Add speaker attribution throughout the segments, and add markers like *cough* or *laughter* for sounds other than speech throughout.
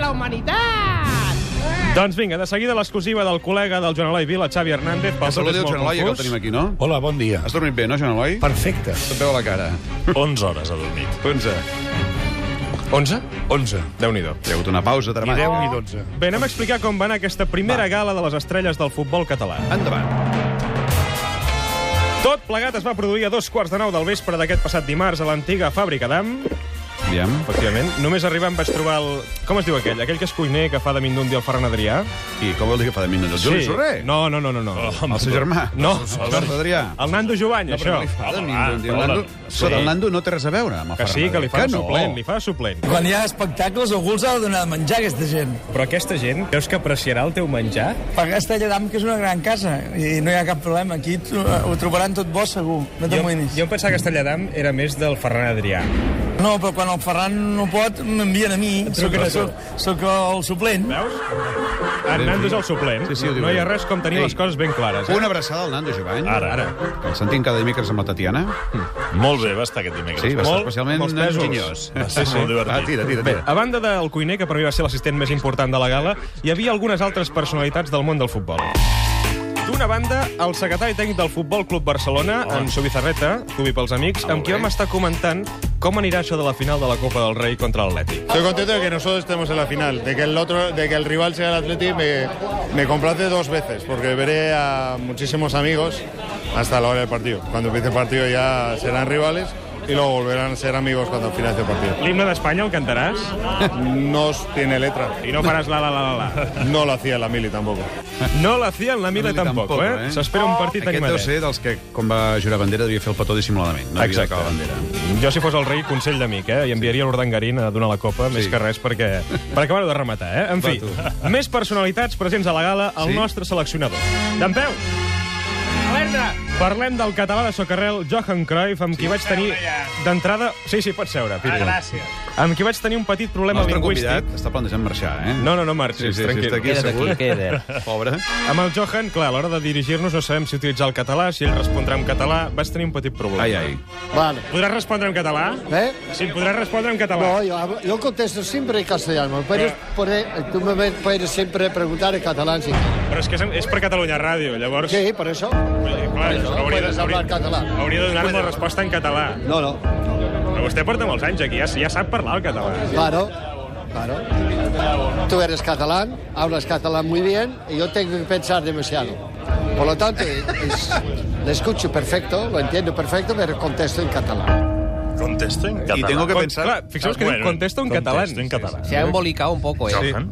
Speaker 1: la humanitat!
Speaker 2: Doncs vinga, de seguida l'exclusiva del col·lega del Joan Eloi Vila, Xavi Hernández. Pel tot
Speaker 3: Saludi
Speaker 2: és
Speaker 3: al
Speaker 2: molt
Speaker 3: Joan Eloi, que el
Speaker 2: confús.
Speaker 3: tenim aquí, no?
Speaker 4: Hola, bon dia.
Speaker 3: Has dormit bé, no, Joan Eloi?
Speaker 4: Perfecte.
Speaker 3: Se't veu a la cara.
Speaker 4: 11 hores ha dormit.
Speaker 3: 11.
Speaker 2: 11?
Speaker 4: 11.
Speaker 2: Déu-n'hi-do.
Speaker 3: Hi ha hagut una pausa
Speaker 4: Ni
Speaker 3: dramàtica.
Speaker 4: 10 ni 12.
Speaker 2: Bé, anem a explicar com va anar aquesta primera gala de les estrelles del futbol català.
Speaker 3: Endavant.
Speaker 2: Tot plegat es va produir a dos quarts de nou del vespre d'aquest passat dimarts a l'antiga fàbrica d'Am.
Speaker 3: Aviam.
Speaker 2: Efectivament. Només arribant vaig trobar el... Com es diu aquell? Aquell que és cuiner que fa de mindundi el Ferran Adrià?
Speaker 3: I com vol dir que fa de mi? El Juli Sorrer?
Speaker 2: No, no, no, no. no. Oh,
Speaker 3: El seu germà?
Speaker 2: No.
Speaker 3: El Jordi Adrià?
Speaker 2: El Nando Jovany, no, això. Ah,
Speaker 3: Fa de mi,
Speaker 4: Home,
Speaker 3: el
Speaker 4: va,
Speaker 3: Nando.
Speaker 4: va, sí.
Speaker 3: Sota el Nando no té res a veure amb el
Speaker 2: Que sí,
Speaker 3: Ferran
Speaker 2: que li fa
Speaker 3: Adrià.
Speaker 2: de suplent,
Speaker 3: no.
Speaker 2: li fa de suplent.
Speaker 5: Quan hi ha espectacles, algú els ha de donar de menjar, aquesta gent.
Speaker 2: Però aquesta gent, creus que apreciarà el teu menjar?
Speaker 5: Per Castella d'Am, que és una gran casa, i no hi ha cap problema. Aquí tro- ho trobaran tot bo, segur. No t'amoïnis.
Speaker 2: em pensava que Estelladam era més del Ferran Adrià.
Speaker 5: No, però quan el Ferran no pot, m'envien a mi. Soc, soc, soc el suplent.
Speaker 2: Veus? En Nando és el suplent.
Speaker 3: Sí, sí, ho diu
Speaker 2: no hi ha
Speaker 3: ell.
Speaker 2: res com tenir
Speaker 3: Ei.
Speaker 2: les coses ben clares. Eh?
Speaker 3: Una abraçada al Nando Jovany.
Speaker 2: Ah.
Speaker 4: Ara, ara.
Speaker 3: Que el sentim cada dimecres amb la Tatiana.
Speaker 4: Molt bé, va estar aquest dimecres.
Speaker 3: Sí, va estar
Speaker 2: Molt-
Speaker 3: especialment
Speaker 2: molts pesos.
Speaker 3: enginyós.
Speaker 4: Va ser molt
Speaker 3: Va,
Speaker 4: divertit.
Speaker 3: Ah, tira, tira, tira.
Speaker 2: A banda del cuiner, que per mi va ser l'assistent més important de la gala, hi havia algunes altres personalitats del món del futbol. D'una banda, el secretari tècnic del Futbol Club Barcelona, en Subizarreta, Cubi pels amics, amb qui vam estar comentant com anirà això de la final de la Copa del Rei contra l'Atlètic.
Speaker 6: Estoy contento de que nosotros estemos en la final, de que el otro, de que el rival sea el Atleti me, me complace dos veces, porque veré a muchísimos amigos hasta la hora del partido. Cuando empiece el partido ya serán rivales y luego volverán a ser amigos cuando finalice el partido.
Speaker 2: L'himne d'Espanya el cantaràs?
Speaker 3: Ah.
Speaker 6: No tiene letra.
Speaker 2: I no faràs la la la la la.
Speaker 6: No lo hacía la Mili tampoco.
Speaker 2: No la CIA en la Mila tampoc,
Speaker 3: tampoc,
Speaker 2: eh?
Speaker 3: eh?
Speaker 2: S'espera un partit
Speaker 3: Aquest deu
Speaker 2: animadet.
Speaker 3: ser dels que, com va jurar bandera, devia fer el petó dissimuladament. No havia de
Speaker 2: Exacte.
Speaker 3: calar bandera.
Speaker 2: Jo, si fos el rei, consell d'amic, eh? I enviaria l'Urdangarín a donar la copa, sí. més que res, perquè... per acabar-ho de rematar, eh? En fi, *laughs* més personalitats presents a la gala, el
Speaker 3: Sí?
Speaker 2: nostre seleccionador. D'en Peu! Alerta! Parlem del català de socarrel Johan Cruyff, amb qui vaig tenir d'entrada... Sí, sí, pots seure, Pitu. Ah, gràcies. Amb qui vaig tenir un petit
Speaker 3: El
Speaker 2: problema
Speaker 3: nostre
Speaker 2: lingüístic.
Speaker 3: convidat està planejant marxar, eh?
Speaker 2: No, no, no marxis,
Speaker 3: Sí, sí, sí,
Speaker 2: tranquil.
Speaker 3: està aquí assegut. Pobre.
Speaker 2: Amb el Johan, clar, a l'hora de dirigir-nos no sabem si utilitzar el català, si ell respondrà en català. Vaig tenir un petit problema.
Speaker 3: Ai, ai.
Speaker 7: Vale.
Speaker 2: Podràs respondre en català?
Speaker 7: ¿Eh?
Speaker 2: Sí, podràs respondre en català.
Speaker 7: No, yo, hablo- yo contesto siempre en castellano. Puedes poner, e, tú me puedes siempre preguntar en catalán si quieres.
Speaker 2: Però és que és, és per Catalunya Ràdio, llavors...
Speaker 7: Sí, por eso.
Speaker 2: Eh, Clar,
Speaker 7: Això,
Speaker 2: hauria, de,
Speaker 7: puedes
Speaker 2: hauria,
Speaker 7: hablar català.
Speaker 2: hauria de donar-me la resposta en català.
Speaker 7: No, no.
Speaker 2: Però vostè porta molts anys aquí, ja, ja sap parlar el català.
Speaker 7: Claro, claro. Tú eres catalán, hablas catalán muy bien y yo tengo que pensar demasiado. Por lo tanto, es- le escucho perfecto, lo entiendo perfecto, pero contesto en catalán.
Speaker 4: Contesta en català.
Speaker 3: I tengo que
Speaker 2: Con-
Speaker 3: pensar...
Speaker 2: Clar, fixeu-vos que diu contesto en català.
Speaker 4: Contesto en català.
Speaker 8: Se ha embolicado un poco, ¿eh?
Speaker 4: Johan.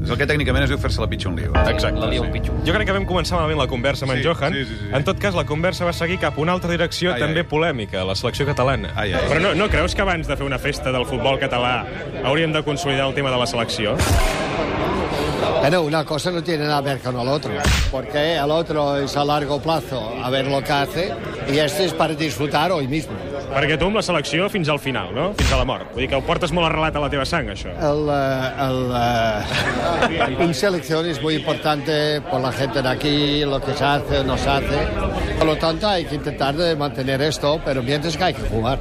Speaker 3: És el que tècnicament es diu fer-se la pitxa un lío.
Speaker 8: La
Speaker 2: Exacte.
Speaker 8: lía un pichu.
Speaker 2: Jo crec que vam començar malament la conversa amb en
Speaker 3: Sí,
Speaker 2: Johan.
Speaker 3: sí, sí, sí.
Speaker 2: En tot cas, la conversa va seguir cap a una altra direcció,
Speaker 3: Ai,
Speaker 2: també
Speaker 3: ai.
Speaker 2: polèmica, la selecció catalana.
Speaker 3: Ai, ai.
Speaker 2: Però no, no creus que abans de fer una festa del futbol català hauríem de consolidar el tema de la selecció?
Speaker 7: Bueno, una cosa no tiene nada que ver con el otro, porque el otro es a largo plazo, a ver lo que hace, y este es para disfrutar hoy mismo.
Speaker 2: Perquè tu amb la selecció fins al final, no? Fins a la mort. Vull dir que ho portes molt arrelat a la teva sang, això.
Speaker 7: El, eh, el, eh, un selección es muy importante por la gente de aquí, lo que se hace o no se hace. Por lo tanto, hay que intentar de mantener esto, pero mientras que hay que jugar.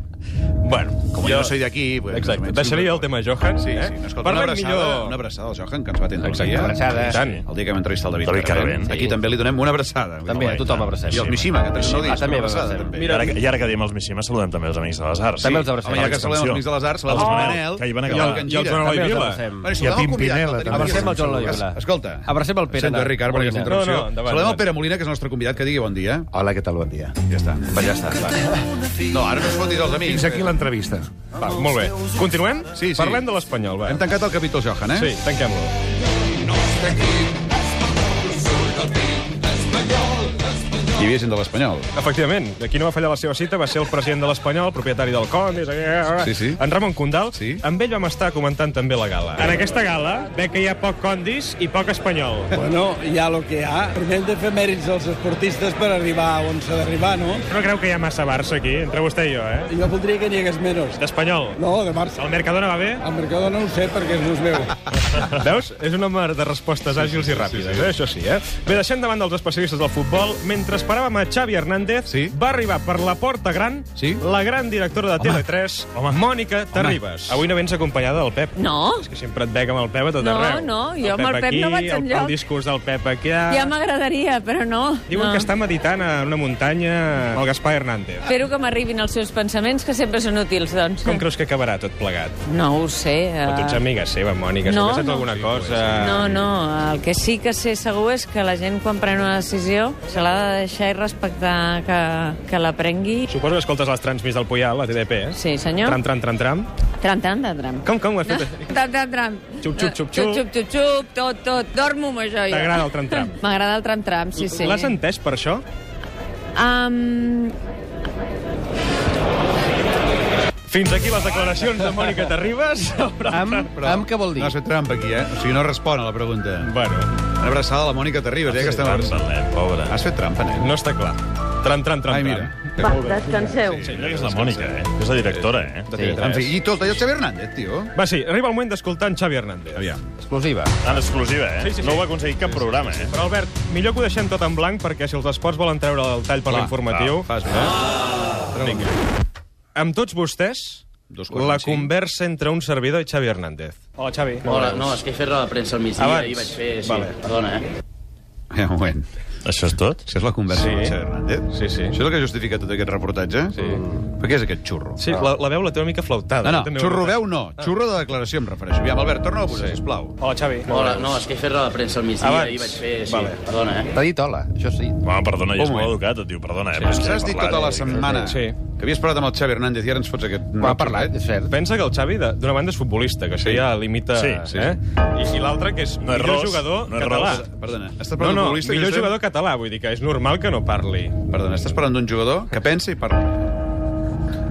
Speaker 2: Bueno,
Speaker 3: Com jo no soy d'aquí... Pues,
Speaker 2: Exacte, deixaria el tema Johan.
Speaker 3: Sí,
Speaker 2: eh?
Speaker 3: sí. No, escolta, una
Speaker 2: Parlem
Speaker 3: abraçada,
Speaker 2: millor...
Speaker 3: una abraçada al Johan, que ens va atendre
Speaker 2: Exacte.
Speaker 3: un dia.
Speaker 8: Abraçades.
Speaker 2: I tant.
Speaker 3: El dia que vam entrevistar el David,
Speaker 4: David Carvent.
Speaker 3: Aquí
Speaker 8: Sí.
Speaker 3: també li donem una abraçada.
Speaker 8: També, a tothom abracem.
Speaker 3: I el Mishima, que també no
Speaker 8: Ah,
Speaker 3: dius,
Speaker 8: també
Speaker 3: una abraçada.
Speaker 8: abracem.
Speaker 3: També.
Speaker 4: I ara, I ara que diem els Mishima, saludem també els Amics de les Arts.
Speaker 8: També els abracem.
Speaker 3: Home, ja que saludem els amics de les Arts, saludem el Manel.
Speaker 4: Que hi van
Speaker 2: I
Speaker 4: acabar.
Speaker 2: el, i el Joan Eloi
Speaker 8: També els
Speaker 2: Vila.
Speaker 8: abracem.
Speaker 3: Bueno,
Speaker 9: I a
Speaker 3: saludem el convidat, el
Speaker 9: Pimpinela,
Speaker 3: tenim
Speaker 9: també.
Speaker 3: aquí.
Speaker 8: Abracem el Joan Eloi Vila.
Speaker 3: Escolta.
Speaker 8: Abracem el Pere
Speaker 3: Sento,
Speaker 8: de-
Speaker 3: Ricard, per aquesta
Speaker 8: Molina.
Speaker 3: interrupció.
Speaker 2: No, no, endavant,
Speaker 3: Saludem el
Speaker 2: endavant.
Speaker 3: Pere Molina, que és el nostre convidat, que digui bon dia.
Speaker 9: Hola, què tal? Bon dia.
Speaker 3: Ja està. Va, ja està. Va. No, ara no es fotis els amics.
Speaker 9: Fins aquí l'entrevista.
Speaker 2: Va, molt bé. Continuem?
Speaker 3: Sí, sí.
Speaker 2: Parlem de l'Espanyol, va.
Speaker 3: Hem tancat el capítol Johan, eh?
Speaker 2: Sí, tanquem-lo.
Speaker 3: Hi havia gent de l'Espanyol.
Speaker 2: Efectivament, qui no va fallar la seva cita va ser el president de l'Espanyol, propietari del Condis,
Speaker 3: Sí, sí.
Speaker 2: en Ramon Condal.
Speaker 3: Sí.
Speaker 2: Amb ell vam estar comentant també la gala. En aquesta gala ve que hi ha poc Condis i poc Espanyol.
Speaker 10: Bueno, hi ha el que hi ha. Primer hem de fer mèrits als esportistes per arribar on s'ha d'arribar, no?
Speaker 2: No creu que hi ha massa Barça aquí, entre vostè i jo, eh?
Speaker 10: Jo voldria que n'hi hagués menys.
Speaker 2: D'Espanyol.
Speaker 10: No, de Barça.
Speaker 2: El Mercadona va bé?
Speaker 10: El Mercadona no ho sé perquè no es veu.
Speaker 2: Veus? És un home de respostes àgils i ràpides, eh? això sí. Eh? Bé, deixem davant dels especialistes del futbol mentre esperàvem a Xavi Hernández,
Speaker 3: Sí.
Speaker 2: va arribar per la porta gran
Speaker 3: Sí.
Speaker 2: la gran directora de TV3, home, Mònica Terribas. Avui no vens acompanyada del Pep.
Speaker 9: No,
Speaker 2: És que sempre et veig amb el Pep a tot
Speaker 9: No,
Speaker 2: arreu.
Speaker 9: no, jo amb el Pep
Speaker 2: aquí,
Speaker 9: no vaig
Speaker 2: el,
Speaker 9: enlloc.
Speaker 2: El discurs del Pep aquí...
Speaker 9: ja m'agradaria, però no.
Speaker 2: Diuen
Speaker 9: no.
Speaker 2: que està meditant a una muntanya amb el Gaspar Hernández.
Speaker 9: Espero que m'arribin els seus pensaments, que sempre són útils, doncs.
Speaker 2: Com creus que acabarà tot plegat?
Speaker 9: No ho sé.
Speaker 2: Uh... Tu ets
Speaker 9: eh,
Speaker 2: amiga seva, Mònica, no,
Speaker 9: No,
Speaker 2: si saps
Speaker 9: no.
Speaker 2: alguna cosa...
Speaker 9: No, no, el que sí que sé segur és que la gent quan pren una decisió se l'ha de deixar i respectar que, que la prengui.
Speaker 2: Suposo que escoltes les transmis del Puyal, la TDP, eh?
Speaker 9: Sí, senyor. Ah,
Speaker 2: Tram, tram, tram, tram.
Speaker 9: Tram, tram, tram, tram.
Speaker 2: Com, com ho has fet?
Speaker 9: Tram, tram, tram.
Speaker 2: Xup, xup, xup, xup.
Speaker 9: xup. Xup, xup, xup, tot, tot. Dormo amb això, jo.
Speaker 2: T'agrada el tram, tram?
Speaker 9: M'agrada el tram, tram, sí, sí.
Speaker 2: L'has entès per això?
Speaker 9: Um,
Speaker 2: Fins aquí les declaracions de Mònica
Speaker 9: *laughs*
Speaker 2: Terribas.
Speaker 8: Am, am què vol dir?
Speaker 3: No has fet trampa aquí, eh? O sigui, no respon a la pregunta.
Speaker 2: bueno,
Speaker 3: Una abraçada a la Mònica Terribas, ja que estem...
Speaker 4: Barcelet, pobra.
Speaker 3: Has fet trampa, nen.
Speaker 2: no està clar. Tram, tram, tram,
Speaker 3: Ai, mira.
Speaker 2: tram.
Speaker 9: va, descanseu.
Speaker 4: Sí, allò que és la Mònica, eh? És la directora, eh?
Speaker 3: Sí, en fi, I tot, allò Xavi Hernández, tio.
Speaker 2: Va, sí, arriba el moment d'escoltar en Xavi Hernández.
Speaker 3: Aviam.
Speaker 8: Exclusiva.
Speaker 4: En exclusiva, eh?
Speaker 2: Sí, sí, sí.
Speaker 4: No ho ha aconseguit cap programa, eh?
Speaker 2: Però, Albert, millor que ho deixem tot en blanc, perquè si els esports volen treure el tall per l'informatiu...
Speaker 3: Fas bé.
Speaker 2: Amb tots vostès,
Speaker 3: Dos quarts
Speaker 2: la
Speaker 3: i cinc.
Speaker 2: conversa entre un servidor i Xavi Hernández. Ah, Hola, Xavi.
Speaker 11: Hola, no, és que he fet roda de premsa al migdia
Speaker 2: Abans.
Speaker 11: i vaig fer... Sí,
Speaker 2: Vale.
Speaker 11: perdona, eh?
Speaker 3: Eh, *laughs* un moment.
Speaker 4: Això és tot?
Speaker 3: Això és la conversa
Speaker 2: Sí.
Speaker 3: sí. amb el Xavi Hernández?
Speaker 2: Sí, sí.
Speaker 3: Això és el que justifica tot aquest reportatge? Sí. Per què és aquest xurro?
Speaker 2: Sí, la, la veu la té una mica flautada.
Speaker 3: No, no,
Speaker 2: Jo també ho he
Speaker 3: xurro
Speaker 2: notat.
Speaker 3: veu no. Xurro de declaració em refereixo. Aviam, Albert, torna a posar, Ah. sí. sisplau.
Speaker 2: Hola, Xavi.
Speaker 11: Hola, no, és que he fet roda de premsa al migdia
Speaker 2: Abans.
Speaker 11: i vaig fer... Sí,
Speaker 2: Vale.
Speaker 11: perdona, eh?
Speaker 8: T'ha dit hola, això sí.
Speaker 4: Home, perdona, ja és
Speaker 3: Un
Speaker 4: molt
Speaker 3: moment.
Speaker 4: educat, et diu, perdona, eh?
Speaker 3: Ens has dit tota la setmana
Speaker 2: Sí.
Speaker 3: que havies parlat amb el Xavi Hernández i ara ens fots aquest...
Speaker 8: M'ha parlat, és cert.
Speaker 2: Pensa que el Xavi, de- d'una banda, és futbolista, que això
Speaker 3: Sí.
Speaker 2: ja limita...
Speaker 4: Sí, sí.
Speaker 2: Eh? I, i l'altra, que és
Speaker 4: No és
Speaker 2: millor
Speaker 4: ros,
Speaker 2: jugador
Speaker 4: no és
Speaker 2: català.
Speaker 4: ros.
Speaker 3: Perdona, estàs
Speaker 2: No,
Speaker 3: parlant
Speaker 2: no,
Speaker 3: d'un futbolista... que
Speaker 2: millor
Speaker 3: estem-
Speaker 2: jugador català, vull dir que és normal que no parli.
Speaker 3: Perdona, estàs parlant d'un jugador que pensa i parla.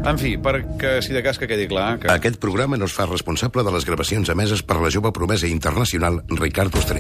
Speaker 3: En fi, perquè si de cas que quedi clar... Que...
Speaker 12: Aquest programa no es fa responsable de les gravacions emeses per la jove promesa internacional Ricard Ostrer.